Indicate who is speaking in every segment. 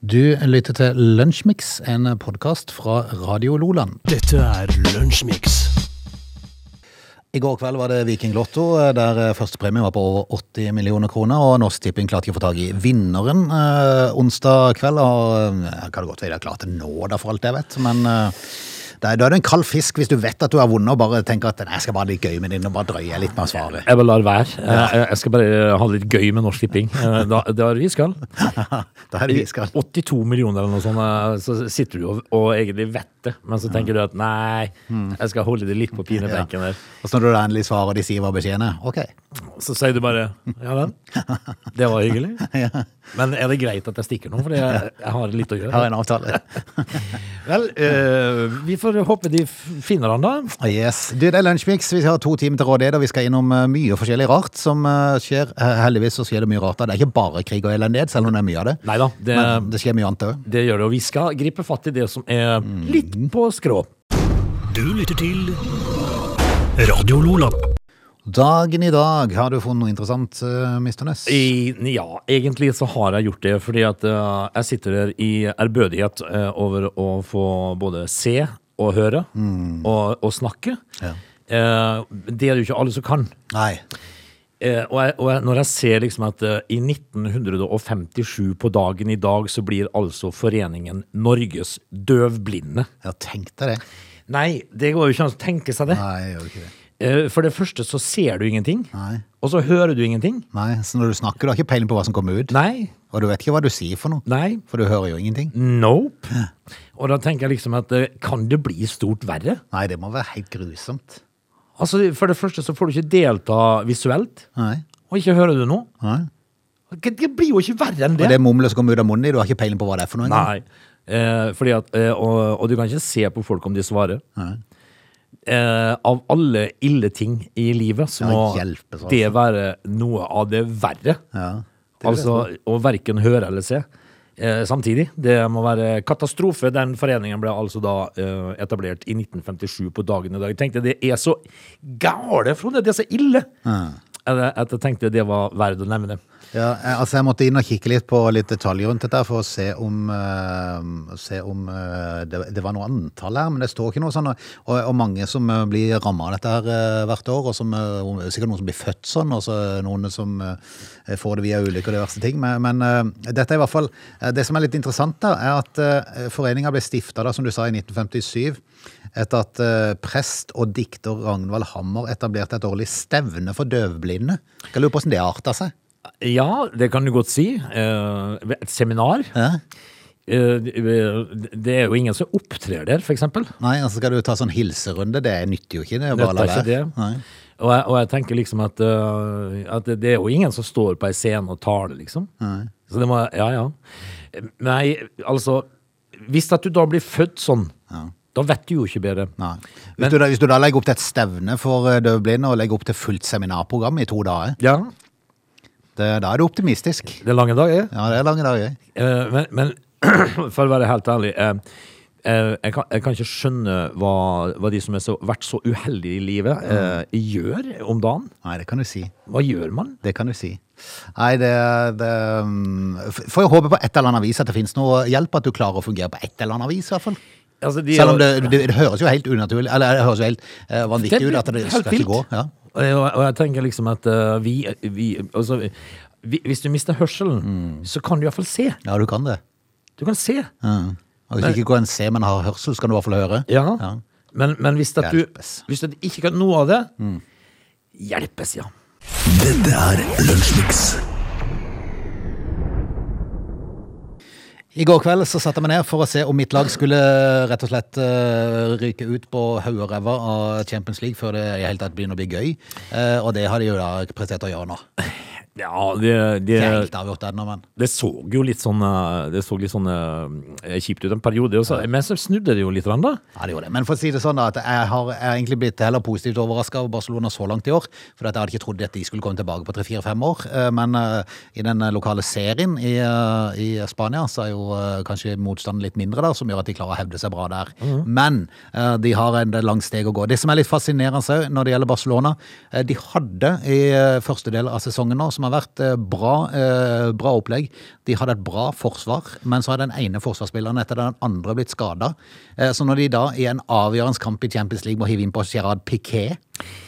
Speaker 1: Du lytter til Lunsjmix, en podkast fra Radio Loland.
Speaker 2: Dette er Lunsjmix.
Speaker 1: I går kveld var det Viking Lotto, eh, der eh, førstepremien var på over 80 millioner kroner. Og Norsk Tipping klarte ikke å få tak i vinneren eh, onsdag kveld. Og eh, kan det godt være de har klart det nå, da, for alt jeg vet. Men eh, det er, da er det en kald fisk hvis du vet at du har vunnet og bare tenker at "Nei, jeg skal bare ha det litt gøy med den og bare drøye litt med å svare.
Speaker 3: Jeg bare lar være. Eh, Jeg skal bare ha det litt gøy med Norsk Tipping. Eh, Da, det er vi skal.
Speaker 1: da er det vi skal.
Speaker 3: 82 millioner eller noe sånt, eh, så sitter du og, og egentlig vet det. Men så tenker du at nei,
Speaker 1: Mm.
Speaker 3: jeg skal holde det litt på pinebenken der.
Speaker 1: Og så når du da endelig svarer og de sier hva beskjeden er, ok.
Speaker 3: Så sier du bare ja vel, det var hyggelig. Men er det greit at jeg stikker nå, for jeg, jeg har litt å gjøre?
Speaker 1: Her er en avtale.
Speaker 3: Vel, eh, vi får håpe de f- finner han da.
Speaker 1: Ah, Yes. Du, det er Lunsjmix. Vi har to timer til rådighet, og vi skal innom eh, mye forskjellig rart som eh, skjer. Eh, Heldigvis så skjer det mye rart. da. Det er ikke bare krig og elendighet, selv om det er mye av det.
Speaker 3: Nei da, det,
Speaker 1: Men det skjer mye annet òg.
Speaker 3: det gjør det. Og vi skal gripe fatt i det som er
Speaker 1: Mm.
Speaker 3: litt på skrå.
Speaker 2: Du lytter til Radio Lola.
Speaker 1: Dagen i dag, har du funnet noe interessant, eh, Mr. Nøss?
Speaker 3: I, ja, egentlig så har jeg gjort det, fordi at eh, jeg sitter her i ærbødighet eh, over å få både se og høre
Speaker 1: Mm.
Speaker 3: og, og snakke.
Speaker 1: Ja.
Speaker 3: Eh, det er det jo ikke alle som kan.
Speaker 1: Nei.
Speaker 3: Eh, og jeg, og jeg, når jeg ser liksom at eh, i 1957 på dagen i dag så blir altså Foreningen Norges døvblinde.
Speaker 1: Ja, tenk deg det.
Speaker 3: Nei, det går jo ikke an å tenke seg det.
Speaker 1: Nei, jeg gjør ikke det.
Speaker 3: Eh, for det første så ser du ingenting,
Speaker 1: Nei.
Speaker 3: og så hører du ingenting.
Speaker 1: Nei, Så når du snakker, du har ikke peiling på hva som kommer ut?
Speaker 3: Nei,
Speaker 1: Og du vet ikke hva du sier for noe?
Speaker 3: nei.
Speaker 1: For du hører jo ingenting?
Speaker 3: Nope. Og da tenker jeg liksom at eh, kan det bli stort verre?
Speaker 1: Nei, det må være helt grusomt.
Speaker 3: Altså, For det første så får du ikke delta visuelt,
Speaker 1: Nei.
Speaker 3: og ikke hører du noe.
Speaker 1: Nei.
Speaker 3: Det det blir jo ikke verre enn
Speaker 1: Og
Speaker 3: det.
Speaker 1: det mumlet som kommer ut av munnen din, du har ikke peiling på hva det er for noe? engang.
Speaker 3: Nei. Eh, fordi at, eh, og, og du kan ikke se på folk om de svarer. Eh, av alle ille ting i livet, så
Speaker 1: Ja,
Speaker 3: må
Speaker 1: hjelpes, altså.
Speaker 3: det være noe av det verre.
Speaker 1: Ja. Det vil jeg
Speaker 3: altså å verken høre eller se. Eh, samtidig. Det må være katastrofe. Den foreningen ble altså da eh, etablert i 1957 på dagen i dag. Jeg tenkte det er så gale, Frode! Det er så ille! Eller, At jeg tenkte det var verdt å nevne.
Speaker 1: Ja, eh, altså jeg måtte inn og kikke litt på litt detaljer rundt dette for å se om, eh, se om eh, det, det var noe antall her, men det står ikke noe sånn. Og, og- og mange som eh, blir rammet av dette her eh, hvert år, og som, eh, om- sikkert noen som blir født sånn, og så noen som eh, får det via ulykker og diverse ting. Men, men eh, dette er i hvert fall, eh, det som er litt interessant da, er at eh, foreningen ble stiftet da, som du sa, i 1957, etter at eh, prest og dikter Ragnvald Hammer etablerte et årlig stevne for døvblinde. Skal lure på hvordan det arter seg.
Speaker 3: Ja, det kan du godt si. Eh, et seminar.
Speaker 1: Ja.
Speaker 3: Eh, det er jo ingen som opptrer der, for eksempel.
Speaker 1: Nei, altså skal du ta sånn hilserunde, det nytter jo ikke. Det er
Speaker 3: Det
Speaker 1: bare å la
Speaker 3: er ikke
Speaker 1: være.
Speaker 3: det.
Speaker 1: Nei.
Speaker 3: Og jeg, og jeg tenker liksom at, øh, at det- det er jo ingen som står på ei scene og taler, liksom. Så det må Ja, ja. Nei, altså Hvis at du da blir født sånn, da vet du jo ikke bedre.
Speaker 1: Nei. Hvis, du da, hvis du da legger opp til et stevne for eh, døvblinde og legger opp til fullt seminarprogram i to dager,
Speaker 3: Ja,
Speaker 1: det, da er du optimistisk.
Speaker 3: det er lange dager.
Speaker 1: Ja, det er lange dager.
Speaker 3: Eh, Men, men for å være helt ærlig eh, eh, jeg, kan, jeg kan ikke skjønne hva, hva de som har vært så uheldige i livet, eh, gjør om dagen.
Speaker 1: Nei, det kan du si.
Speaker 3: Hva gjør man?
Speaker 1: Det kan du si. Nei, det, det mm, f- Får jeg håpe på et eller annet vis at det finnes noe hjelp, at du klarer å fungere på et eller annet vis, i hvert fall.
Speaker 3: Altså, de-
Speaker 1: Selv om det, det, det høres jo helt unaturlig, eller det høres jo helt eh, vanvittig ut at det
Speaker 3: helt
Speaker 1: skal ikke gå.
Speaker 3: vilt.
Speaker 1: Ja.
Speaker 3: Og, jeg, og jeg tenker liksom at eh, vi, vi, altså, vi Hvis du mister hørselen,
Speaker 1: Mm.
Speaker 3: så kan du iallfall se.
Speaker 1: ja, du kan det.
Speaker 3: Du kan se.
Speaker 1: Mm. Og hvis du ikke kan se, men har hørsel, så kan du i hvert fall høre.
Speaker 3: Ja. Men, men hvis, at du,
Speaker 1: Hjelpes. Mm.
Speaker 3: hvis at du ikke kan noe av det Hjelpes, ja.
Speaker 2: Dette er Lunsjmix.
Speaker 1: I går kveld så satte jeg meg ned for å se om mitt lag skulle rett og slett eh, ryke ut på hauet og ræva av Champions League før det i hele tatt begynner å bli gøy. Eh, og det har de jo da prestert å gjøre nå.
Speaker 3: Ja, det, det,
Speaker 1: Ikke helt avgjort ennå, men
Speaker 3: det så jo litt sånn eh, Det så litt sånn eh, kjipt ut en periode, og så- men så snudde det jo litt. grann, Da.
Speaker 1: ja, det gjorde det. Men for å si det sånn, da, at jeg har jeg har egentlig blitt heller positivt overraska over Barcelona så langt i år. For at jeg hadde ikke trodd at de skulle komme tilbake på tre-fire-fem år. Eh, men eh, i den lokale serien i, eh, i Spania så er jo eh, kanskje motstanden litt mindre, da, som gjør at de klarer å hevde seg bra der. Men eh, de har en lang steg å gå. Det som er litt fascinerende også når det gjelder Barcelona, eh, de hadde i eh, første del av sesongen nå, som som har vært eh, bra, eh, bra opplegg. De hadde et bra forsvar, men så har den ene forsvarsspilleren etter den andre blitt skada. Så når de da i en avgjørende kamp i Champions League må hive inn på Gerard Piquet,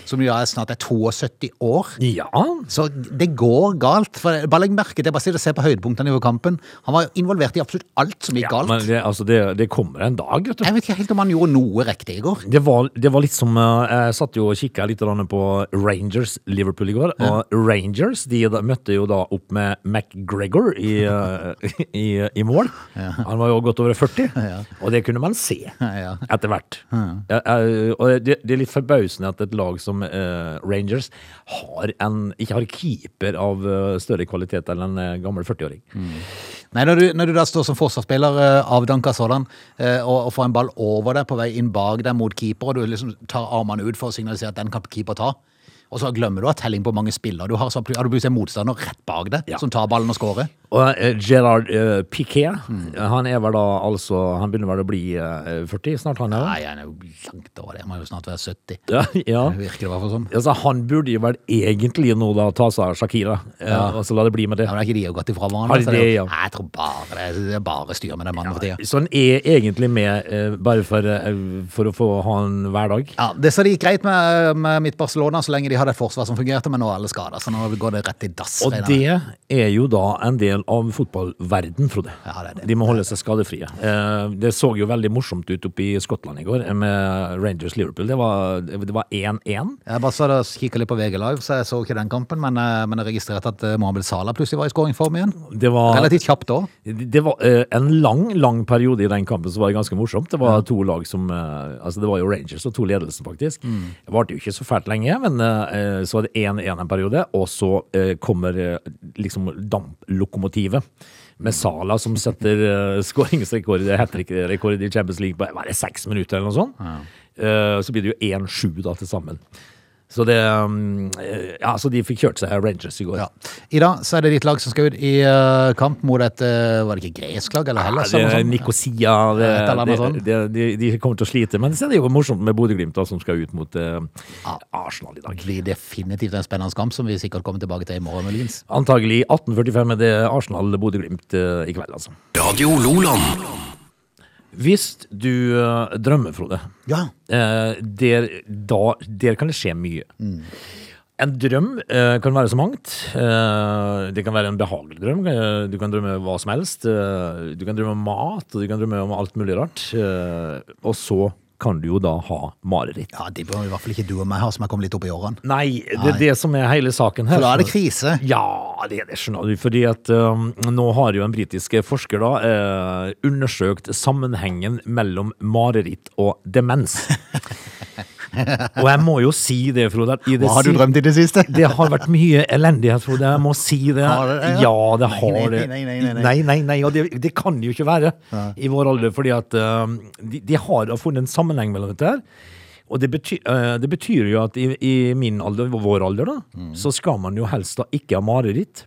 Speaker 1: som jo er snart er 72 år
Speaker 3: Ja.
Speaker 1: så det går galt. For bare legg merke til, bare sitt og se på høydepunktene i kampen. Han var involvert i absolutt alt som gikk
Speaker 3: ja
Speaker 1: galt.
Speaker 3: men det, altså, det, det kommer en dag, vet du.
Speaker 1: Jeg vet ikke helt om han gjorde noe riktig i går.
Speaker 3: Det var, det var litt som eh, Jeg satt jo og kikka litt grann på Rangers Liverpool i går. Og Rangers de da, møtte jo da opp med McGregor i, eh, i, i mål. Han var jo godt over 40, og det kunne man se
Speaker 1: Ja.
Speaker 3: etter hvert. Eh, eh, og det, det er litt forbausende at et lag som eh, Rangers har en, ikke har keeper av eh, større kvalitet enn en eh, gammel 40-åring.
Speaker 1: Mm. Nei, når du, når du da står som forsvarsspiller, eh, avdanka sådan, eh, og, og får en ball over deg på vei inn bak deg mot keeper, og du liksom tar armene ut for å signalisere at den kan keeper ta. Og så glemmer du at telling på mange spillere du har, så har du plutselig en motstander rett bak deg
Speaker 3: Ja.
Speaker 1: som tar ballen og scorer.
Speaker 3: Og eh, Gerard eh, Piquet,
Speaker 1: Mm.
Speaker 3: han er vel da altså Han begynner vel å bli eh, 40 snart, han òg?
Speaker 1: Nei, han er jo langt over det. Han må jo snart være 70.
Speaker 3: Ja, ja.
Speaker 1: Det virker det i hvert fall sånn. som.
Speaker 3: Altså, han burde jo vel egentlig nå da ta seg av Shakira, eh, og så la det bli med det.
Speaker 1: Ja, men er ikke de jo gått ifra
Speaker 3: Har
Speaker 1: hverandre?
Speaker 3: de
Speaker 1: så det er jo-
Speaker 3: det, ja?
Speaker 1: Nei, jeg tror bare det, det er bare styr med den mannen for tida.
Speaker 3: Så han er egentlig med eh, bare for, eh, for å få ha en hverdag.
Speaker 1: Ja, det så det gikk greit med, med mitt Barcelona så lenge de hadde et forsvar som fungerte, men nå er alle skada, så nå går det rett i dass.
Speaker 3: Og
Speaker 1: regner jeg med.
Speaker 3: det er jo da en del av fotballverden, Frode.
Speaker 1: Ja, det er det.
Speaker 3: De må holde seg skadefrie. Eh, Det så jo veldig morsomt ut oppe i Skottland i går eh, med Rangers Liverpool. Det var det var 1-1.
Speaker 1: Jeg bare så det, kikket litt på VG Live, så jeg så ikke den kampen, men, eh, men jeg registrerte at eh, Mohamed Salah plutselig var i skåringsform igjen.
Speaker 3: Det var
Speaker 1: Relativt kjapt òg.
Speaker 3: Det var eh, en lang, lang periode i den kampen som var det ganske morsomt. Det var to lag som eh, Altså, det var jo Rangers og to ledelsen, faktisk. Det varte jo ikke så fælt lenge, men eh, eh, så var det 1-1 en periode, og så eh, kommer eh, liksom damplokomotivet. Med Sala som setter eh, skåringsrekord, hat trick-rekord i Champions League på var det seks minutter eller noe sånt. Eh, så blir det jo 1-7 da til sammen. Så det um, eh, Ja, så de fikk kjørt seg Rangers i går.
Speaker 1: Ja. I dag så er det ditt lag som skal ut i eh, kamp mot et eh, Var det ikke gresk lag eller Hellas?
Speaker 3: Ja,
Speaker 1: eller noe
Speaker 3: det er
Speaker 1: sånt?
Speaker 3: Nikosia det,
Speaker 1: Et eller annet
Speaker 3: det,
Speaker 1: sånt.
Speaker 3: det, de, de kommer til å slite. Men så er det jo morsomt med Bodø-Glimt, da, som skal ut mot eh, Arsenal i dag.
Speaker 1: Det blir definitivt en spennende kamp som vi sikkert kommer tilbake til i morgen, muligens.
Speaker 3: Antagelig 18.45 er det Arsenal-Bodø-Glimt eh, i kveld, altså.
Speaker 2: Radio Loland.
Speaker 3: Hvis du eh, drømmer, Frode,
Speaker 1: Ja.
Speaker 3: eh, der, da, der kan det skje mye.
Speaker 1: Mm.
Speaker 3: En drøm eh, kan være så mangt. Eh, det kan være en behagelig drøm. Eh, du kan drømme hva som helst. Eh, du kan drømme om mat, og du kan drømme om alt mulig rart. Eh, og så kan du jo da ha mareritt.
Speaker 1: Ja, Det bør i hvert fall ikke du og meg ha, som er kommet litt opp i årene.
Speaker 3: Nei, det er det som er hele saken her.
Speaker 1: For da er det krise.
Speaker 3: Ja, det, det skjønner du. Fordi at um, nå har jo en britisk forsker da eh, undersøkt sammenhengen mellom mareritt og demens. og jeg må jo si det, Frode. at i det
Speaker 1: Hva har du
Speaker 3: si-
Speaker 1: drømt i det siste?
Speaker 3: Det har vært mye elendighet, Frode. Jeg må si det.
Speaker 1: Har det det, ja?
Speaker 3: Ja, det
Speaker 1: Nei,
Speaker 3: har
Speaker 1: nei,
Speaker 3: det.
Speaker 1: nei, nei, nei, nei.
Speaker 3: Nei, nei, nei, og det, det kan det jo ikke være i vår alder, fordi at um, de, de har da funnet en sammenheng mellom dette her. Og det betyr, eh, det betyr jo at i, i min alder, vår alder, da,
Speaker 1: Mm.
Speaker 3: så skal man jo helst da ikke ha mareritt.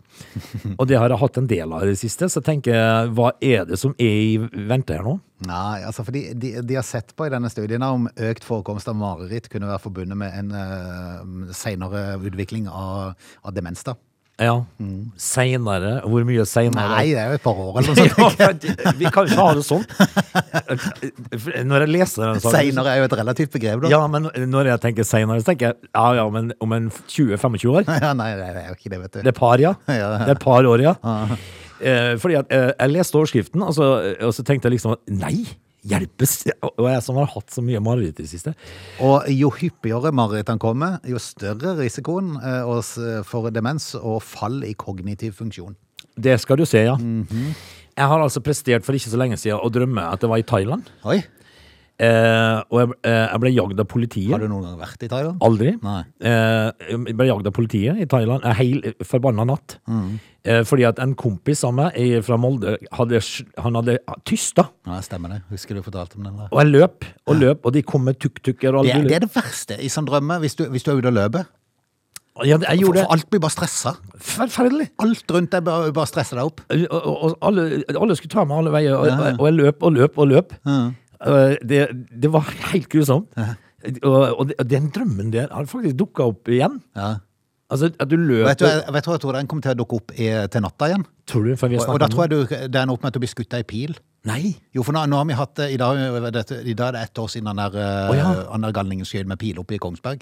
Speaker 3: Og det har jeg hatt en del av i det siste, så jeg tenker jeg, hva er det som er i vente her nå?
Speaker 1: Nei, altså fordi de, de har sett på i denne studien her om økt forekomst av mareritt kunne være forbundet med en uh, senere utvikling av, av demens. da.
Speaker 3: Ja, seinere. Hvor mye seinere?
Speaker 1: Mm. Nei, det er jo et par år eller noe
Speaker 3: Ja,
Speaker 1: sånt.
Speaker 3: for at- vi kan ikke ha det sånn. For Når jeg leser den saken
Speaker 1: Senere er jo et relativt begrep, da.
Speaker 3: Ja, men når jeg tenker senere, så tenker jeg ja, ja, men om en 20-25 år.
Speaker 1: Ja, Nei, det er jo ikke det, vet
Speaker 3: Det
Speaker 1: du.
Speaker 3: er par, ja.
Speaker 1: Ja.
Speaker 3: Det er par år, ja. Eh, fordi at eh, jeg leste overskriften, og så, og så tenkte jeg liksom at nei, hjelpes! Og jeg som har hatt så mye mareritt i det siste.
Speaker 1: Og jo hyppigere marerittene kommer, jo større risikoen eh, og s- for demens og fall i kognitiv funksjon.
Speaker 3: Det skal du se, ja.
Speaker 1: Mhm.
Speaker 3: Jeg har altså prestert for ikke så lenge siden å drømme at det var i Thailand.
Speaker 1: Oi,
Speaker 3: Eh, og jeg, eh, jeg ble jagd av politiet.
Speaker 1: har du noen gang vært i Thailand?
Speaker 3: Aldri.
Speaker 1: Nei.
Speaker 3: Eh, jeg ble jagd av politiet i Thailand en hel forbanna natt.
Speaker 1: Mm.
Speaker 3: Eh, fordi at en kompis av meg i- fra Molde hadde, sj- han hadde tysta.
Speaker 1: Nei, stemmer det. Husker du fortalte om den? der?
Speaker 3: Og jeg løp og løp, og de kom med tuk-tuker og
Speaker 1: Det
Speaker 3: alt
Speaker 1: er, det
Speaker 3: mulig.
Speaker 1: er det verste i sånn drømme, hvis du, hvis du er ute og løper.
Speaker 3: Ja, jeg
Speaker 1: For,
Speaker 3: gjorde
Speaker 1: for
Speaker 3: det
Speaker 1: alt blir bare stressa.
Speaker 3: forferdelig.
Speaker 1: Alt rundt deg bare, bare stresser deg opp.
Speaker 3: Eh, Og, og, og alle, alle skulle ta meg alle veier, og, og, og jeg løp og løp og løp. Eh, det, det var helt grusomt. Og, og det- og den drømmen der har faktisk dukka opp igjen.
Speaker 1: Ja.
Speaker 3: Altså, at du løper
Speaker 1: Vet du, jeg, vet du hva jeg tror den kommer til å dukke opp i, til natta igjen?
Speaker 3: Tror du, for vi
Speaker 1: Og, og da tror jeg du, det ender opp med at du blir skutt av ei pil.
Speaker 3: Nei!
Speaker 1: Jo, for nå, nå har vi hatt eh, I dag, eh, dette- i dag er det ett år siden han der, eh,
Speaker 3: Å, ja.
Speaker 1: han der galningen skjøt med pil oppe i Kongsberg.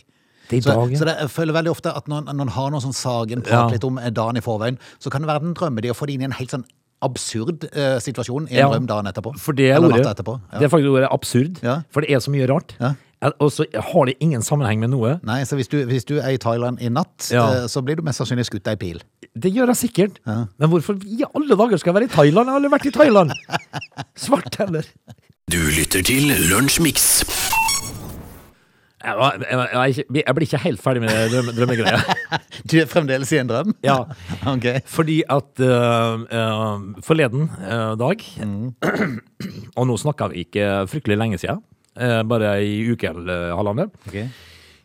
Speaker 3: Det er i
Speaker 1: Så,
Speaker 3: dag, ja.
Speaker 1: så det, jeg føler veldig ofte at når, når en har noe sånn sagen
Speaker 3: Ja.
Speaker 1: prater litt om eh, dagen i forveien, så kan det være den drømmer de å få det inn i en helt sånn absurd eh, situasjon i en
Speaker 3: Ja.
Speaker 1: drøm dagen etterpå.
Speaker 3: For det er
Speaker 1: Eller
Speaker 3: ordet.
Speaker 1: natta etterpå.
Speaker 3: Det
Speaker 1: Ja.
Speaker 3: er faktisk ordet absurd.
Speaker 1: Ja.
Speaker 3: For det er så mye rart.
Speaker 1: Ja.
Speaker 3: At- Og så har det ingen sammenheng med noe.
Speaker 1: Nei, så hvis du, hvis du er i Thailand i natt,
Speaker 3: Ja.
Speaker 1: eh, så blir du mest sannsynlig skutt av ei pil.
Speaker 3: Det gjør jeg sikkert. Men hvorfor i alle dager skal jeg være i Thailand? Jeg har aldri vært i Thailand! Svart heller.
Speaker 2: Du lytter til Lunsjmix.
Speaker 3: Jeg, var- jeg, var- jeg, er ikke- jeg blir ikke helt ferdig med det drømme, drømmegreia.
Speaker 1: Du er fremdeles i en drøm?
Speaker 3: Ja.
Speaker 1: Ok.
Speaker 3: Fordi at øh, øh, forleden øh, dag
Speaker 1: Mm.
Speaker 3: Og nå snakker vi ikke fryktelig lenge siden. øh, bare ei uke eller halvannen.
Speaker 1: Ok.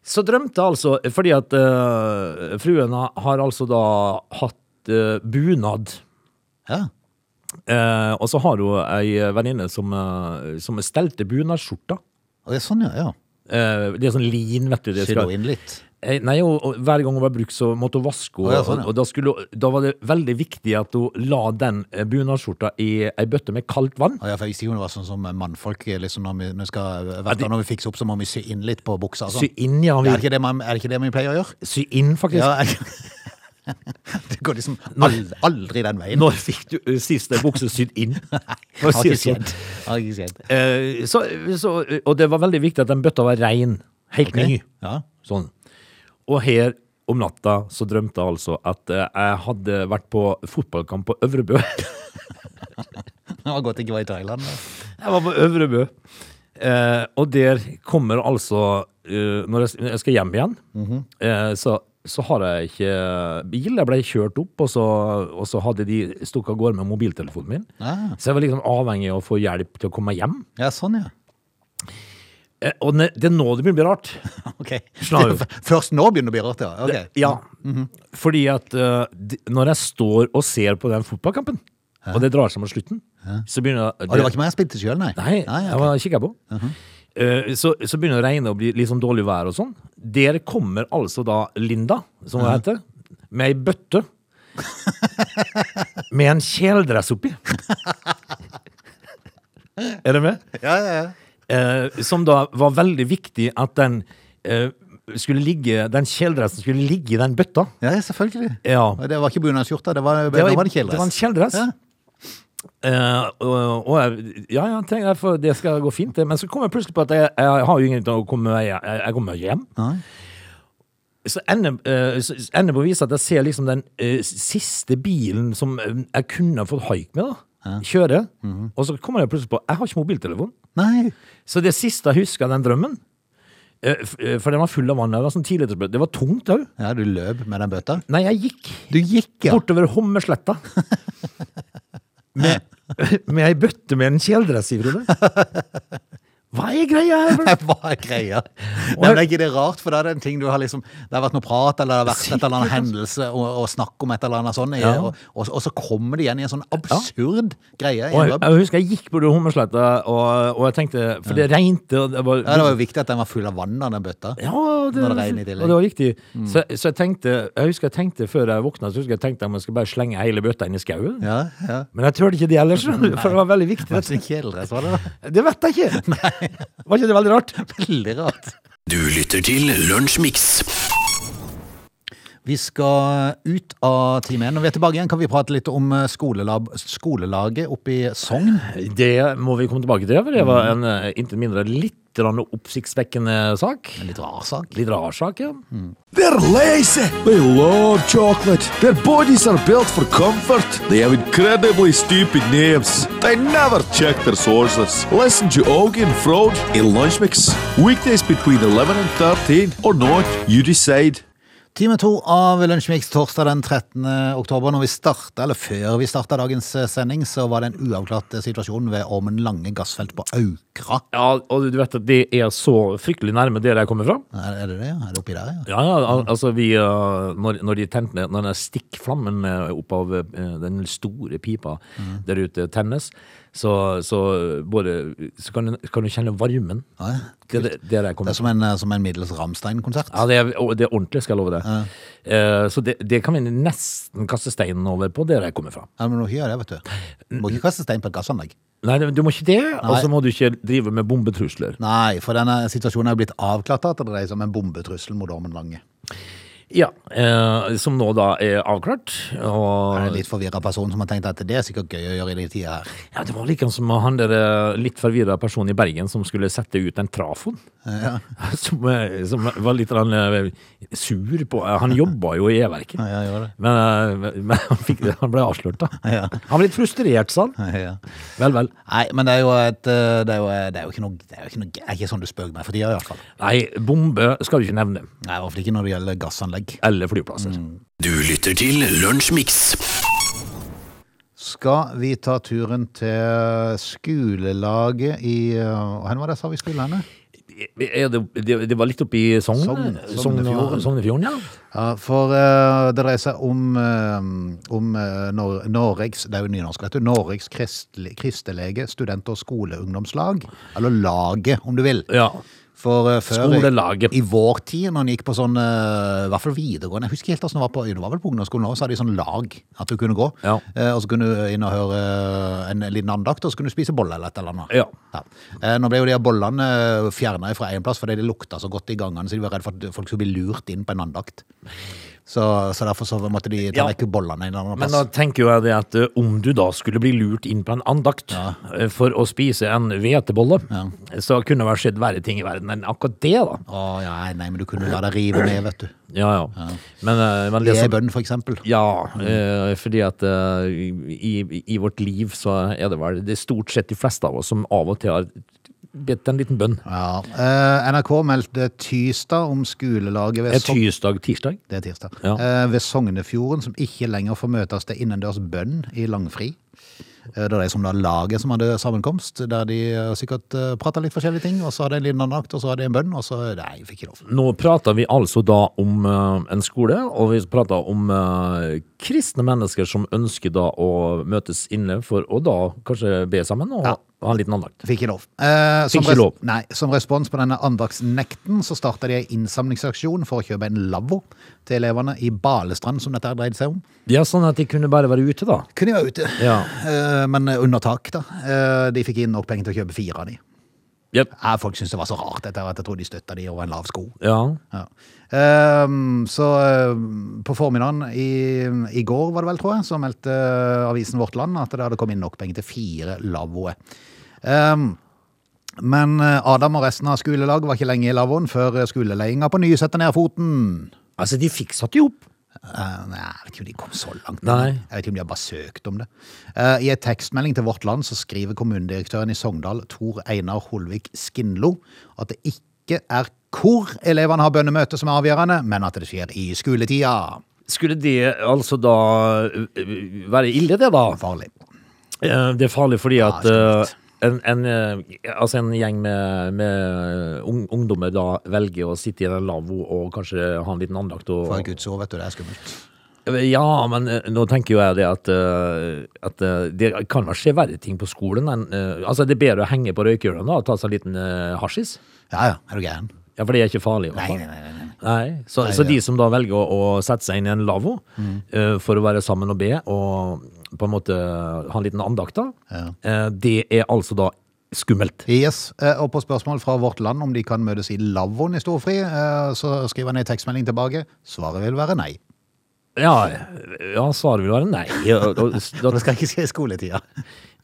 Speaker 3: Så drømte jeg altså, fordi at øh, fruen har, har altså da hatt øh, bunad.
Speaker 1: Ja.
Speaker 3: Eh, og så har hun ei venninne som, øh, som stelte bunadsskjorta.
Speaker 1: Og det er sånn, ja. ja.
Speaker 3: Eh, det er sånn lin, vet du. Det
Speaker 1: Skylder
Speaker 3: skal,
Speaker 1: hun inn litt.
Speaker 3: Eh, Nei, og, og hver gang hun var brukt, så måtte hun vaske henne.
Speaker 1: Å, ja, sånn, ja.
Speaker 3: Og, og da, skulle, hun- da var det veldig viktig at hun la den eh, bunadsskjorta i ei bøtte med kaldt vann.
Speaker 1: Å Ja, for jeg visste ikke om det var sånn som mannfolk liksom når vi, når vi skal, hvert
Speaker 3: det-
Speaker 1: gang når vi fikser opp, så må vi sy inn litt på buksa. og
Speaker 3: Sy
Speaker 1: Sånn.
Speaker 3: inn, ja.
Speaker 1: Er, det
Speaker 3: Vi,
Speaker 1: ikke det man, er det ikke det vi pleier å gjøre?
Speaker 3: sy inn, faktisk.
Speaker 1: Ja, er, det går liksom aldri, aldri den veien.
Speaker 3: Når fikk du eh, sist ei bukse sydd inn? For å
Speaker 1: Har
Speaker 3: si
Speaker 1: ikke
Speaker 3: det sånn.
Speaker 1: skjedd. Har ikke skjedd.
Speaker 3: Eh, så, så, og det var veldig viktig at den bøtta var rein. Helt ny.
Speaker 1: Ja.
Speaker 3: Sånn. Og her om natta så drømte jeg altså at eh, jeg hadde vært på fotballkamp på Øvrebø.
Speaker 1: Det var godt det ikke var i Thailand. da.
Speaker 3: Jeg var på Øvrebø. Eh, og der kommer altså eh, Når jeg, når jeg skal hjem igjen, eh, så, så har jeg ikke bil. Jeg ble kjørt opp, og så, og så hadde de stukket av gårde med mobiltelefonen min.
Speaker 1: Ah.
Speaker 3: Så jeg var liksom avhengig av å få hjelp til å komme meg hjem.
Speaker 1: Ja, sånn, ja.
Speaker 3: Eh, og ne, det er nå det begynner å bli rart.
Speaker 1: Ok.
Speaker 3: Snarere.
Speaker 1: Det er f- Først nå begynner det å bli rart, ja. Ok. Mhm.
Speaker 3: Ja. Fordi at eh, de, når jeg står og ser på den fotballkampen, og det drar seg mot slutten, så begynner jeg
Speaker 1: Og det var ikke meg jeg spilte sjøl, nei?
Speaker 3: Nei,
Speaker 1: ok. Mhm.
Speaker 3: jeg var kikket på. Eh, så, så begynner det å regne og bli litt sånn dårlig vær og sånn. Der kommer altså da Linda, som
Speaker 1: Mhm.
Speaker 3: hun heter, med ei bøtte. med en kjeledress oppi. er du med?
Speaker 1: Ja, ja, ja.
Speaker 3: Eh, som da var veldig viktig at den eh, skulle ligge Den kjeledressen skulle ligge i den bøtta.
Speaker 1: Ja, ja, selvfølgelig.
Speaker 3: Ja.
Speaker 1: Og Det var ikke bunadsskjorta, det var, det var, en kjeledress.
Speaker 3: Det var en kjeledress.
Speaker 1: Ja.
Speaker 3: Eh, og, og jeg, ja, ja, tenk, jeg får- det skal gå fint, det. Men så kom jeg plutselig på at jeg, jeg har jo ingenting å komme meg jeg, jeg kommer meg hjem.
Speaker 1: Nei.
Speaker 3: Så ender, eh, så så ender på å vise at jeg ser liksom den eh, siste bilen som eh, jeg kunne ha fått haik med, da. Kjøre.
Speaker 1: Mhm.
Speaker 3: Og så kommer jeg plutselig på jeg har ikke mobiltelefon.
Speaker 1: Nei.
Speaker 3: Så det siste jeg husker av den drømmen eh, f- eh, For den var full av vann. Det var, sånn tidligere- det var tungt òg.
Speaker 1: Ja, du løp med den bøtta.
Speaker 3: Nei, jeg gikk.
Speaker 1: Du gikk, ja.
Speaker 3: bortover Hommersletta. Med, med ei bøtte med en kjeledress i, Frode. Hva er greia her? Frode?
Speaker 1: Hva er greia? Nei, men er ikke det rart, for da er det en ting du har liksom Det har vært noe prat, eller det har vært et eller annet hendelse og, og snakk om et eller annet sånn, i-
Speaker 3: Ja.
Speaker 1: og, og, og så kommer det igjen i en sånn absurd greie. i
Speaker 3: Og
Speaker 1: en
Speaker 3: jeg,
Speaker 1: web.
Speaker 3: jeg husker jeg gikk bortover Hommersletta, og, og jeg tenkte For det regnet, og det var
Speaker 1: Ja, det var jo viktig at den var full av vann, da, den bøtta.
Speaker 3: Ja, og det,
Speaker 1: Når det regner i tillegg. Mm.
Speaker 3: og det var viktig. Så, så jeg tenkte Jeg husker jeg tenkte før jeg våkna, så husker jeg tenkte om jeg skulle bare slenge hele bøtta inn i skauen.
Speaker 1: Ja, ja.
Speaker 3: Men jeg turte ikke det ellers, skjønner du, for det var veldig viktig.
Speaker 1: Kanskje en kjeledress, var det da?
Speaker 3: Det vet jeg ikke! Var ikke det veldig rart?
Speaker 1: Veldig rart.
Speaker 2: Du lytter til Lunsjmix.
Speaker 1: Vi skal ut av time én. Når vi er tilbake igjen, kan vi prate litt om eh, skolelab, skolelaget oppe i Sogn.
Speaker 3: Det må vi komme tilbake til, for det var en eh, intet mindre litt grann oppsiktsvekkende sak.
Speaker 1: En litt rar sak.
Speaker 3: Litt rar sak, ja.
Speaker 4: They're lazy. They love chocolate. Their bodies are built for comfort. They have incredibly stupid names. They never check their sources. Listen to Augie and Frode in Lunch Mix Weekdays between 11 and 13 or not, you decide.
Speaker 1: Time to av Lunsjmix torsdag den 13. oktober. Når vi starta, eller før vi starta dagens eh, sending, så var det en uavklart eh, situasjon ved Ormen Lange gassfelt på Aukra.
Speaker 3: Ja, og du vet at det er så fryktelig nærme der jeg kommer fra.
Speaker 1: Er er det det? ja? Er det oppi der, ja?
Speaker 3: Ja, ja, al
Speaker 1: Mm.
Speaker 3: altså vi, eh, når, når de tente ned,
Speaker 1: Mm.
Speaker 3: når den stikkflammen eh, opp av eh, den store pipa der ute tennes, Så, så, både, så kan, du, kan du kjenne varmen.
Speaker 1: Ja, ja.
Speaker 3: Det, det, det er det jeg
Speaker 1: Det
Speaker 3: kommer
Speaker 1: er som en, eh, som en middels Rammstein-konsert.
Speaker 3: Ja, det er, og det er ordentlig, skal jeg love deg. Eh, så det, det kan vi nesten kaste steinen over på, der jeg kommer fra.
Speaker 1: Ja, men du må ikke gjøre det, vet du. Du må ikke kaste stein på et gassanlegg.
Speaker 3: Nei, du må ikke det, og så må du ikke drive med bombetrusler.
Speaker 1: Nei, for denne situasjonen er blitt avklart at det dreier seg om en bombetrussel mot Ormen Lange.
Speaker 3: Ja, eh, som nå da er avklart.
Speaker 1: Det er
Speaker 3: Og,
Speaker 1: en litt forvirra person som har tenkt at det er sikkert gøy å gjøre i de tider her.
Speaker 3: ja, det var like som han der eh, litt forvirra personen i Bergen som skulle sette ut en trafon. Som, eh, som var litt grann, eh, sur på Eh, Han jobba jo i E-verket.
Speaker 1: Ja, jeg gjør det.
Speaker 3: Men, eh, men han, fikk, det- han ble avslørt, da.
Speaker 1: Ja.
Speaker 3: Han ble litt frustrert, sa han.
Speaker 1: Ja.
Speaker 3: Vel, vel.
Speaker 1: Nei, men det er jo et eh, Det er jo, det er jo ikke noe Det er jo ikke, noe, det er ikke sånn du spøker med for tida, iallfall.
Speaker 3: Nei, bombe skal du ikke nevne.
Speaker 1: Nei, i hvert fall ikke når det gjelder gassanlegg.
Speaker 3: Eller flyplasser.
Speaker 1: Mm.
Speaker 2: Du lytter til Lunsjmix.
Speaker 1: Skal vi ta turen til skolelaget i eh, Hvor var det jeg sa vi skulle hen?
Speaker 3: Er det, det, det var litt oppi Sogn?
Speaker 1: Sogn,
Speaker 3: Sogn-
Speaker 1: Sognefjorden.
Speaker 3: Sognefjorden, ja.
Speaker 1: Ja, for eh, det dreier seg om, eh, om eh, Nor Norges, det er jo nynorsk, vet du, Norges kristelig, kristelege student- og skoleungdomslag, eller laget, om du vil.
Speaker 3: ja.
Speaker 1: For eh, før
Speaker 3: Skolelaget.
Speaker 1: I, i vår tid, når en gikk på sånn, eh, i hvert fall videregående, jeg husker ikke helt hvordan det var på, det var vel på ungdomsskolen også, så hadde de sånn lag, at du kunne gå,
Speaker 3: Ja.
Speaker 1: eh, og så kunne du inn og høre eh, en liten andakt, og så kunne du spise bolle eller et eller annet.
Speaker 3: Ja.
Speaker 1: Eh, Nå ble jo de her bollene eh, fjernet fra en plass, fordi de lukta så godt i gangene, så de var redde for at folk skulle bli lurt inn på en andakt. Så, så derfor så måtte de ta
Speaker 3: Ja.
Speaker 1: vekk bollene i en annen
Speaker 3: Men da
Speaker 1: plass.
Speaker 3: tenker jo jeg det at eh, om du da skulle bli lurt inn på en andakt eh, for å spise en hvetebolle, så kunne det ha skjedd verre ting i verden enn akkurat det, da.
Speaker 1: Å, ja, nei, men du kunne la deg rive ned, vet du.
Speaker 3: Ja, ja. Men, eh, men
Speaker 1: Det
Speaker 3: det
Speaker 1: er
Speaker 3: som
Speaker 1: bønn, for eksempel.
Speaker 3: Ja, eh, fordi at eh, i, i vårt liv så er det vel det er stort sett de fleste av oss som av og til har bedt en liten bønn.
Speaker 1: Ja. Eh, NRK meldte tirsdag om skolelaget ved
Speaker 3: Er
Speaker 1: Sogn...
Speaker 3: tirsdag tirsdag?
Speaker 1: Det er tirsdag.
Speaker 3: Ja.
Speaker 1: Eh, ved Sognefjorden, som ikke lenger får møtes til innendørs bønn i langfri. Eh, Det var de som da laget som hadde sammenkomst, der de eh, sikkert eh, pratet litt forskjellige ting, og så hadde de en liten andakt, og så hadde de en bønn, og så eh, Nei, fikk ikke lov.
Speaker 3: Nå prater vi altså da om eh, en skole, og vi prater om eh, kristne mennesker som ønsker da å møtes inne for å da kanskje be sammen og
Speaker 1: Ja.
Speaker 3: ha en liten andakt.
Speaker 1: Fikk ikke lov. Eh, som
Speaker 3: Fikk ikke
Speaker 1: res-
Speaker 3: lov.
Speaker 1: Nei, som respons på denne andaktsnekten så starta de en innsamlingsaksjon for å kjøpe en lavvo til elevene i Balestrand, som dette her dreide seg om.
Speaker 3: Ja, sånn at de kunne bare være ute da.
Speaker 1: Kunne de være ute,
Speaker 3: Ja.
Speaker 1: eh, men under tak, da. Eh, de fikk inn nok penger til å kjøpe fire av de.
Speaker 3: Jep.
Speaker 1: Eh, folk syntes det var så rart dette her, at jeg tror de støtta de over en lav sko.
Speaker 3: Ja.
Speaker 1: Ja. Ehm, så ehm, på formiddagen i, i går, var det vel, tror jeg, så meldte eh, avisen Vårt Land at det hadde kommet inn nok penger til fire lavvoer. Ehm, men eh, Adam og resten av skolelaget var ikke lenge i lavvoen før skoleledelsen på ny setter ned foten.
Speaker 3: Altså, de fikk satt ihop.
Speaker 1: Eh, nei, jeg vet ikke om de kom så langt.
Speaker 3: Nei.
Speaker 1: Jeg vet ikke om de har bare søkt om det. Eh, I en tekstmelding til Vårt Land så skriver kommunedirektøren i Sogndal, Tor Einar Holvik Skinlo, at det ikke er hvor elevene har bønnemøte som er avgjørende, men at det skjer i skoletida.
Speaker 3: Skulle det altså da ø, ø, være ille det da?
Speaker 1: Farlig.
Speaker 3: Eh, Det er farlig fordi at
Speaker 1: Ja,
Speaker 3: eh, en, en, eh, altså en gjeng med, med ung, ungdommer da velger å sitte i en lavvo og kanskje ha en liten andakt. Og,
Speaker 1: For guds ord, vet du, det er skummelt.
Speaker 3: Ja, men eh, nå tenker jo jeg det at, eh, at eh, det kan vel skje verre ting på skolen enn eh, Altså, det er bedre å henge på røykjøla da og ta seg en liten eh, hasjis.
Speaker 1: Ja ja, er du gæren?
Speaker 3: Ja, for det er ikke farlig. i hvert
Speaker 1: Nei,
Speaker 3: fall.
Speaker 1: nei, nei. nei.
Speaker 3: Nei, så,
Speaker 1: Nei,
Speaker 3: så
Speaker 1: det- Mm.
Speaker 3: de som da velger å, å sette seg inn i en lavvo eh, for å være sammen og be, og på en måte ha en liten andakt, da, eh, det er altså da skummelt.
Speaker 1: Yes, eh, og på spørsmål fra Vårt Land om de kan møtes i lavvoen i storfri, eh, så skriver han i en tekstmelding tilbake. Svaret vil være nei.
Speaker 3: Ja, ja svaret vil være nei. Ja, og- og-
Speaker 1: For
Speaker 3: da,
Speaker 1: det skal ikke skje i skoletida.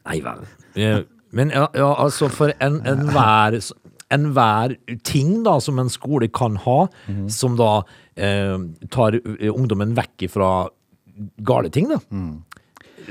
Speaker 3: nei vel. Eh, Men ja, ja, altså, for en- enhver en hver ting da, som en skole kan ha, som da eh, tar eh, ungdommen vekk fra gale ting, da.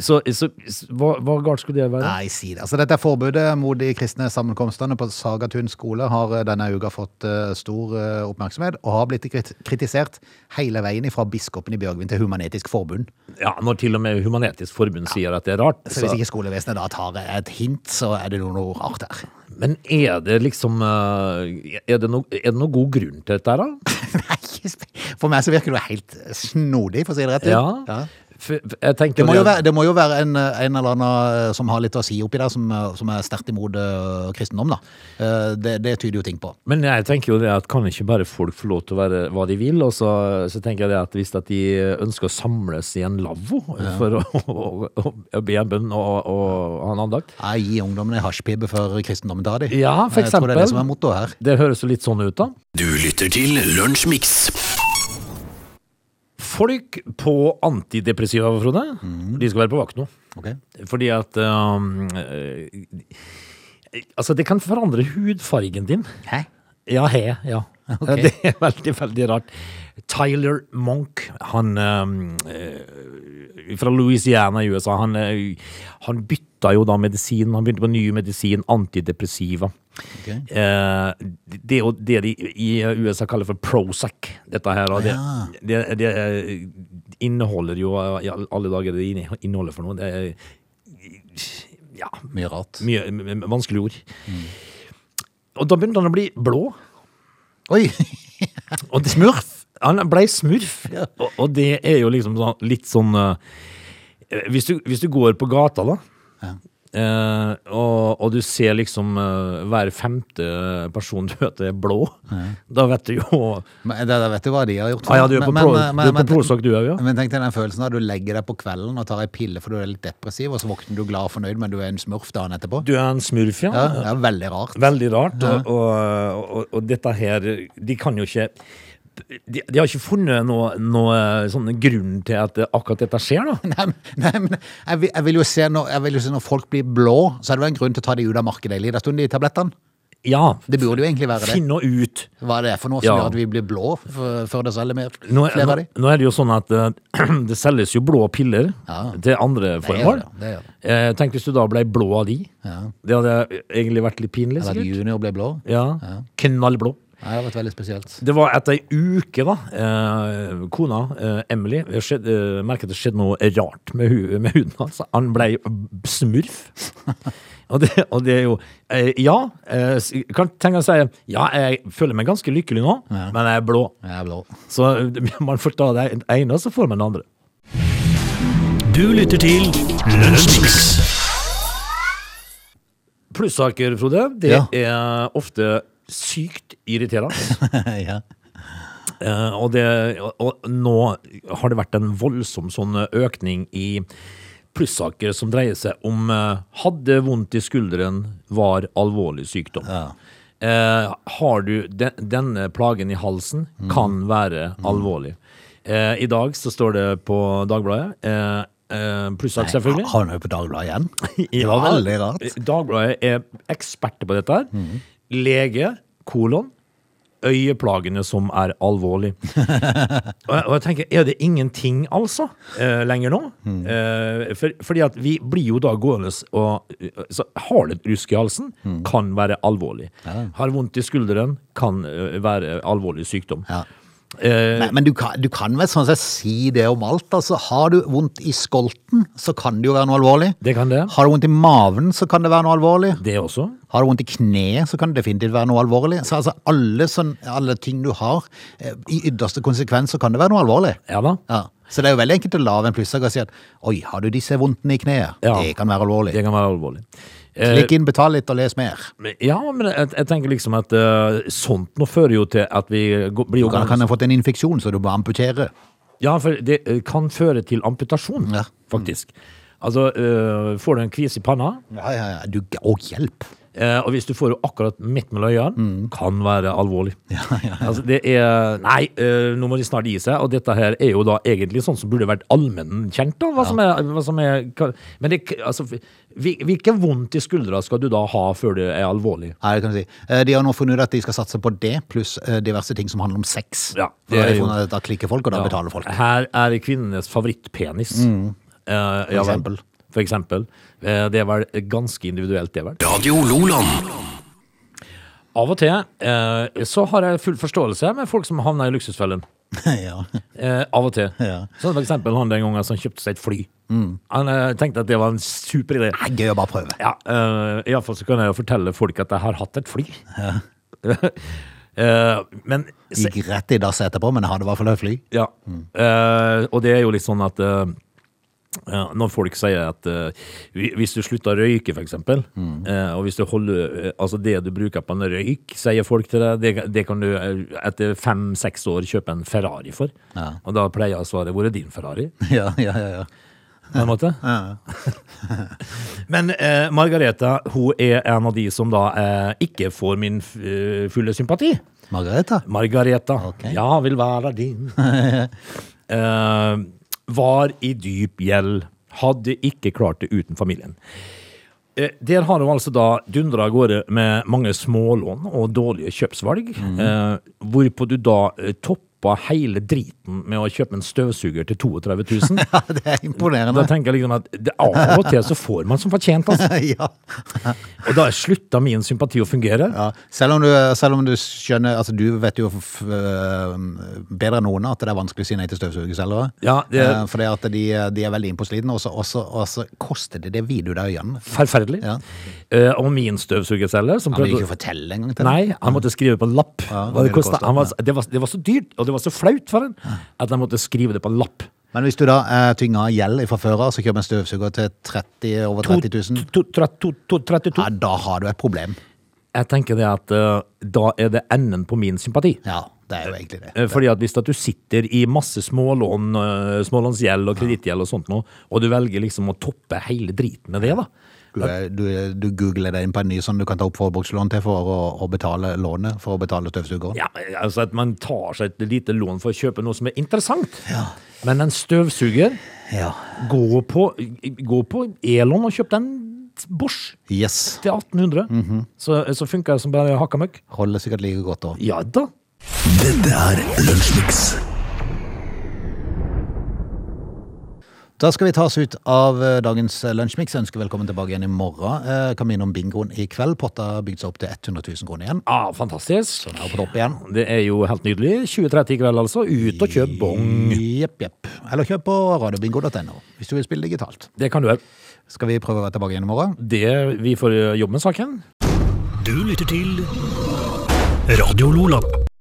Speaker 3: Så, så, s- hva, hva galt skulle det være?
Speaker 1: Nei, si det. Altså, dette forbudet mot de kristne sammenkomstene på Sagatun skole har eh, denne uka fått eh, stor eh, oppmerksomhet, og har blitt krit kritisert hele veien fra biskopen i Bjørgvin til Humanetisk Forbund.
Speaker 3: Ja, når til og med Human-Etisk Forbund sier at det er rart.
Speaker 1: Så
Speaker 3: så-
Speaker 1: hvis ikke skolevesenet da tar et hint, så er det noe, noe rart her.
Speaker 3: Men er det liksom eh, er det, no, er det noen god grunn til dette, her, da?
Speaker 1: Nei, for meg så virker det helt snodig, for å si det rett ut.
Speaker 3: Ja. f- f- jeg tenker
Speaker 1: Det må jo
Speaker 3: at-
Speaker 1: være, det må jo være en, en eller annen eh, som har litt å si oppi der, som, som er sterkt imot eh, kristendom, da. Eh, Det, det tyder jo ting på.
Speaker 3: Men jeg tenker jo det at kan ikke bare folk få lov til å være hva de vil, og så, så tenker jeg det at hvis at de ønsker å samles i en lavvo for å, å, å, å be en bønn og, og ha en andakt
Speaker 1: Nei, gi ungdommen ei hasjpipe før kristendommen tar dem.
Speaker 3: Ja, for
Speaker 1: Jeg tror det er
Speaker 3: eksempel.
Speaker 1: det som er mottoet her.
Speaker 3: Det høres jo litt sånn ut, da.
Speaker 2: Du lytter til Lunsjmix.
Speaker 3: Folk på antidepressiva, Frode, de skal være på vakt nå.
Speaker 1: Ok?
Speaker 3: Fordi at um, eh, Altså, det kan forandre hudfargen din.
Speaker 1: Hæ?
Speaker 3: Ja, he, ja.
Speaker 1: Ok.
Speaker 3: Det er veldig, veldig rart. Tyler Monk, han eh, eh, fra Louisiana i USA, han, eh, han bytta jo da medisin. Han begynte på ny medisin, antidepressiva.
Speaker 1: Ok.
Speaker 3: Eh, det er jo det de i USA kaller for Prozac, dette her. Og det, det, det eh, inneholder jo eh, i alle dager det inne- inneholder for noe. Det er ja,
Speaker 1: Mye rart.
Speaker 3: mye m- m- vanskelige ord. Og da begynte han å bli blå.
Speaker 1: Oi!
Speaker 3: Og det, smurf? Han blei smurf. Og, og det er jo liksom sånn, litt sånn eh, hvis, du, hvis du går på gata, da, eh, og, og du ser liksom eh, hver femte person du møter, er blå, da vet du jo
Speaker 1: Men det, det vet du hva de har gjort.
Speaker 3: Ah, ja, du er på
Speaker 1: Men-
Speaker 3: Pro-
Speaker 1: men-
Speaker 3: du er på
Speaker 1: men-
Speaker 3: Prozac, du er jo, ja.
Speaker 1: Men tenk deg den følelsen da, du legger deg på kvelden og tar ei pille for du er litt depressiv, og så våkner du glad og fornøyd, men du er en smurf dagen etterpå.
Speaker 3: Du er en smurf, ja.
Speaker 1: Ja, det er veldig rart.
Speaker 3: Veldig rart. Og, og, og, og dette her De kan jo ikke de, de har ikke funnet noe, noe sånn grunn til at akkurat dette skjer, da.
Speaker 1: Nei, men- nei, men jeg vil, jeg, vil jo se når, jeg vil jo se når folk blir blå, så er det vel en grunn til å ta de ut av markedet en liten stund, de tablettene.
Speaker 3: Ja,
Speaker 1: Det burde jo egentlig være det.
Speaker 3: finn nå ut.
Speaker 1: Hva er det for noe
Speaker 3: Ja.
Speaker 1: som gjør at vi blir blå f- før det selger mer?
Speaker 3: Nå,
Speaker 1: Flere av de?
Speaker 3: nå, nå er det jo sånn at eh, det selges jo blå piller
Speaker 1: Ja.
Speaker 3: til andre
Speaker 1: gjør
Speaker 3: formål.
Speaker 1: det, det gjør det.
Speaker 3: Eh, tenk hvis du da ble blå av de. Det hadde egentlig vært litt pinlig,
Speaker 1: Eller at
Speaker 3: sikkert.
Speaker 1: junior ble blå?
Speaker 3: Ja. Knallblå.
Speaker 1: Nei, det har vært veldig spesielt.
Speaker 3: Det var etter ei uke, da. Eh, kona, eh, Emily, det skjedde, eh, merket det skjedde noe rart med, hu med huden hans. Han ble smurf. og, det, og det er jo eh, Ja, eh, s- kan tenke å si Ja, jeg føler meg ganske lykkelig nå, men jeg er blå.
Speaker 1: Jeg er blå.
Speaker 3: Så eh, man får ta det ene, og så får man det andre.
Speaker 2: Du lytter til Lunsjmix.
Speaker 3: Plussaker, Frode, det
Speaker 1: Ja.
Speaker 3: er ofte sykt irriterende.
Speaker 1: ja.
Speaker 3: Eh, og, det, og, og nå har det vært en voldsom sånn økning i plussaker som dreier seg om eh, hadde vondt i skulderen, var alvorlig sykdom. Eh, har du de, denne plagen i halsen, kan være alvorlig. Eh, I dag så står det på Dagbladet. Eh, eh, plussak, selvfølgelig.
Speaker 1: Har han jo på Dagbladet igjen? Det
Speaker 3: Ja,
Speaker 1: var veldig rart. Mhm.
Speaker 3: Dagbladet er eksperter på dette her. Lege, kolon, øyeplagene som er alvorlig. og, jeg, og jeg tenker, er det ingenting altså eh, lenger nå?
Speaker 1: Mhm.
Speaker 3: Eh, for, fordi at vi blir jo da gående og så Har du et rusk i halsen,
Speaker 1: Mhm.
Speaker 3: kan være alvorlig. Har vondt i skulderen, kan eh, være alvorlig sykdom.
Speaker 1: Ja.
Speaker 3: Eh,
Speaker 1: Nei, men du kan, du kan vel sånn sett si det om alt. Altså, har du vondt i skolten, så kan det jo være noe alvorlig.
Speaker 3: det kan det.
Speaker 1: Har du vondt i maven, så kan det være noe alvorlig.
Speaker 3: Det også.
Speaker 1: Har du vondt i kneet, så kan det definitivt være noe alvorlig. Så altså, alle, sånn, alle ting du har, eh, i ytterste konsekvens, så kan det være noe alvorlig.
Speaker 3: Ja da.
Speaker 1: Ja. Så det er jo veldig enkelt å lave en plussak og si at oi, har du disse vondtene i kneet?
Speaker 3: Ja.
Speaker 1: Det kan være alvorlig.
Speaker 3: Det kan være alvorlig.
Speaker 1: Klikk inn, betal litt og les mer.
Speaker 3: Men- Ja, men jeg, jeg tenker liksom at eh, sånt nå fører jo til at vi gå- blir jo
Speaker 1: Du kan, kan ha fått en infeksjon, så du må amputere.
Speaker 3: Ja, for det eh, kan føre til amputasjon,
Speaker 1: Ja.
Speaker 3: faktisk. Altså, eh, får du en kvis i panna,
Speaker 1: Ja, ja, ja. Du, å, hjelp!
Speaker 3: eh, og hvis du får det akkurat midt mellom øynene,
Speaker 1: Mm.
Speaker 3: kan være alvorlig. Altså, det er Nei, eh, nå må de snart gi seg, og dette her er jo da egentlig sånn som burde vært allmennkjent, da. Hva som er, hva som er hva, Men det, altså, hvil- hvilke vondt i skuldra skal du da ha før det er alvorlig?
Speaker 1: Ja, det kan du si. Eh, De har nå funnet ut at de skal satse på det, pluss eh, diverse ting som handler om sex.
Speaker 3: Ja,
Speaker 1: For da, har
Speaker 3: det er
Speaker 1: de
Speaker 3: jo-
Speaker 1: funnet ut at da klikker folk, og da
Speaker 3: Ja.
Speaker 1: betaler folk. Mm.
Speaker 3: Her er kvinnenes favorittpenis. for
Speaker 1: eksempel.
Speaker 3: For eksempel. Eh, Det er vel ganske individuelt, det vel.
Speaker 2: Radio Loland.
Speaker 3: Av og til eh, så har jeg full forståelse med folk som havner i luksusfellen.
Speaker 1: ja.
Speaker 3: Eh, av og til.
Speaker 1: Ja.
Speaker 3: Sånn for eksempel han den gangen som kjøpte seg et fly. Han eh, tenkte at det var en super idé.
Speaker 1: Nei, Gøy å bare prøve.
Speaker 3: Ja, uh, Iallfall så kan jeg jo fortelle folk at jeg har hatt et fly. Eh, men
Speaker 1: De Gikk rett i dass etterpå, men jeg hadde i hvert fall et fly.
Speaker 3: Ja. Eh, og det er jo litt sånn at eh, Ja, når folk sier at eh, hvi- hvis du slutter å røyke, for eksempel, eh, og hvis du holder eh, altså det du bruker på en røyk, sier folk til deg, det, det kan du eh, etter fem-seks år kjøpe en Ferrari for.
Speaker 1: Ja.
Speaker 3: Og da pleier jeg å svare 'hvor er din Ferrari?'
Speaker 1: Ja, ja, ja. ja.
Speaker 3: på en måte. Men eh, Margareta hun er en av de som da eh, ikke får min f eh, fulle sympati.
Speaker 1: Margareta?
Speaker 3: Margareta,
Speaker 1: Ok.
Speaker 3: ja, vil være din. Eh, var i dyp gjeld. Hadde ikke klart det uten familien. Eh, Der har hun altså da dundra av gårde med mange smålån og dårlige kjøpsvalg,
Speaker 1: Mhm.
Speaker 3: eh, hvorpå du da eh, toppa hele driten med å kjøpe en støvsuger til 32 000.
Speaker 1: Ja, det er
Speaker 3: Da
Speaker 1: imponerende.
Speaker 3: tenker jeg liksom at det, av og til så får man som fortjent, altså.
Speaker 1: Ja.
Speaker 3: Og da slutta min sympati å fungere.
Speaker 1: Ja. Selv, om du, selv om du skjønner altså Du vet jo f øh, bedre enn noen at det er vanskelig å si nei til støvsugerselgere.
Speaker 3: Ja, det-
Speaker 1: Eh, Fordi at de, de er veldig innpåslitne, og så- og så og så koster det det viduet av øynene.
Speaker 3: Forferdelig.
Speaker 1: Ja.
Speaker 3: Eh, og min støvsugerselger som
Speaker 1: Han vil
Speaker 3: prøvde
Speaker 1: ikke fortelle engang til
Speaker 3: Nei, han måtte skrive på en lapp.
Speaker 1: Ja,
Speaker 3: hva
Speaker 1: det
Speaker 3: det kostet.
Speaker 1: kostet,
Speaker 3: Han var, det, var, det var så dyrt, og det var så flaut for han at han måtte skrive det på en lapp.
Speaker 1: Men hvis du da er tynga av gjeld fra før av, så kjøper en støvsuger til 30, over 30 000,
Speaker 3: To- to- tre- to- to- 32.
Speaker 1: ja, da har du et problem.
Speaker 3: Jeg tenker det at eh, da er det enden på min sympati.
Speaker 1: Ja, det er jo egentlig det.
Speaker 3: Eh, Fordi at hvis at du sitter i masse smålån, eh, smålånsgjeld og kredittgjeld og sånt nå, og du velger liksom å toppe hele driten med det, da.
Speaker 1: Du, er- du, du googler deg inn på en ny som du kan ta opp forbrukslån til for å, å betale lånet, for å betale støvsugeren.
Speaker 3: Ja, altså at man tar seg et lite lån for å kjøpe noe som er interessant. Men en støvsuger,
Speaker 1: Ja.
Speaker 3: gå på, gå på Elon og kjøp den Bosch
Speaker 1: Yes.
Speaker 3: til 1800. Så, så funker det som bare hakka møkk.
Speaker 1: Holder sikkert like godt òg.
Speaker 3: Ja da.
Speaker 2: Dette er Lunsjmix.
Speaker 1: Da skal vi ta oss ut av eh, dagens Lunsjmix. Ønsker velkommen tilbake igjen i morgen. Eh, Kan minne om bingoen i kveld. Potta har bygd seg opp til 100 000 kroner igjen.
Speaker 3: Ah, fantastisk.
Speaker 1: Den er på topp igjen.
Speaker 3: Det er jo helt nydelig. 20.30 i kveld, altså. Ut og kjøp bong.
Speaker 1: Mm. Jepp, jepp. Eller kjøp på radiobingo.no hvis du vil spille digitalt.
Speaker 3: Det kan du gjøre.
Speaker 1: Skal vi prøve å være tilbake igjen i morgen?
Speaker 3: Det vi får jobbe med saken.
Speaker 2: Du lytter til Radio Lola.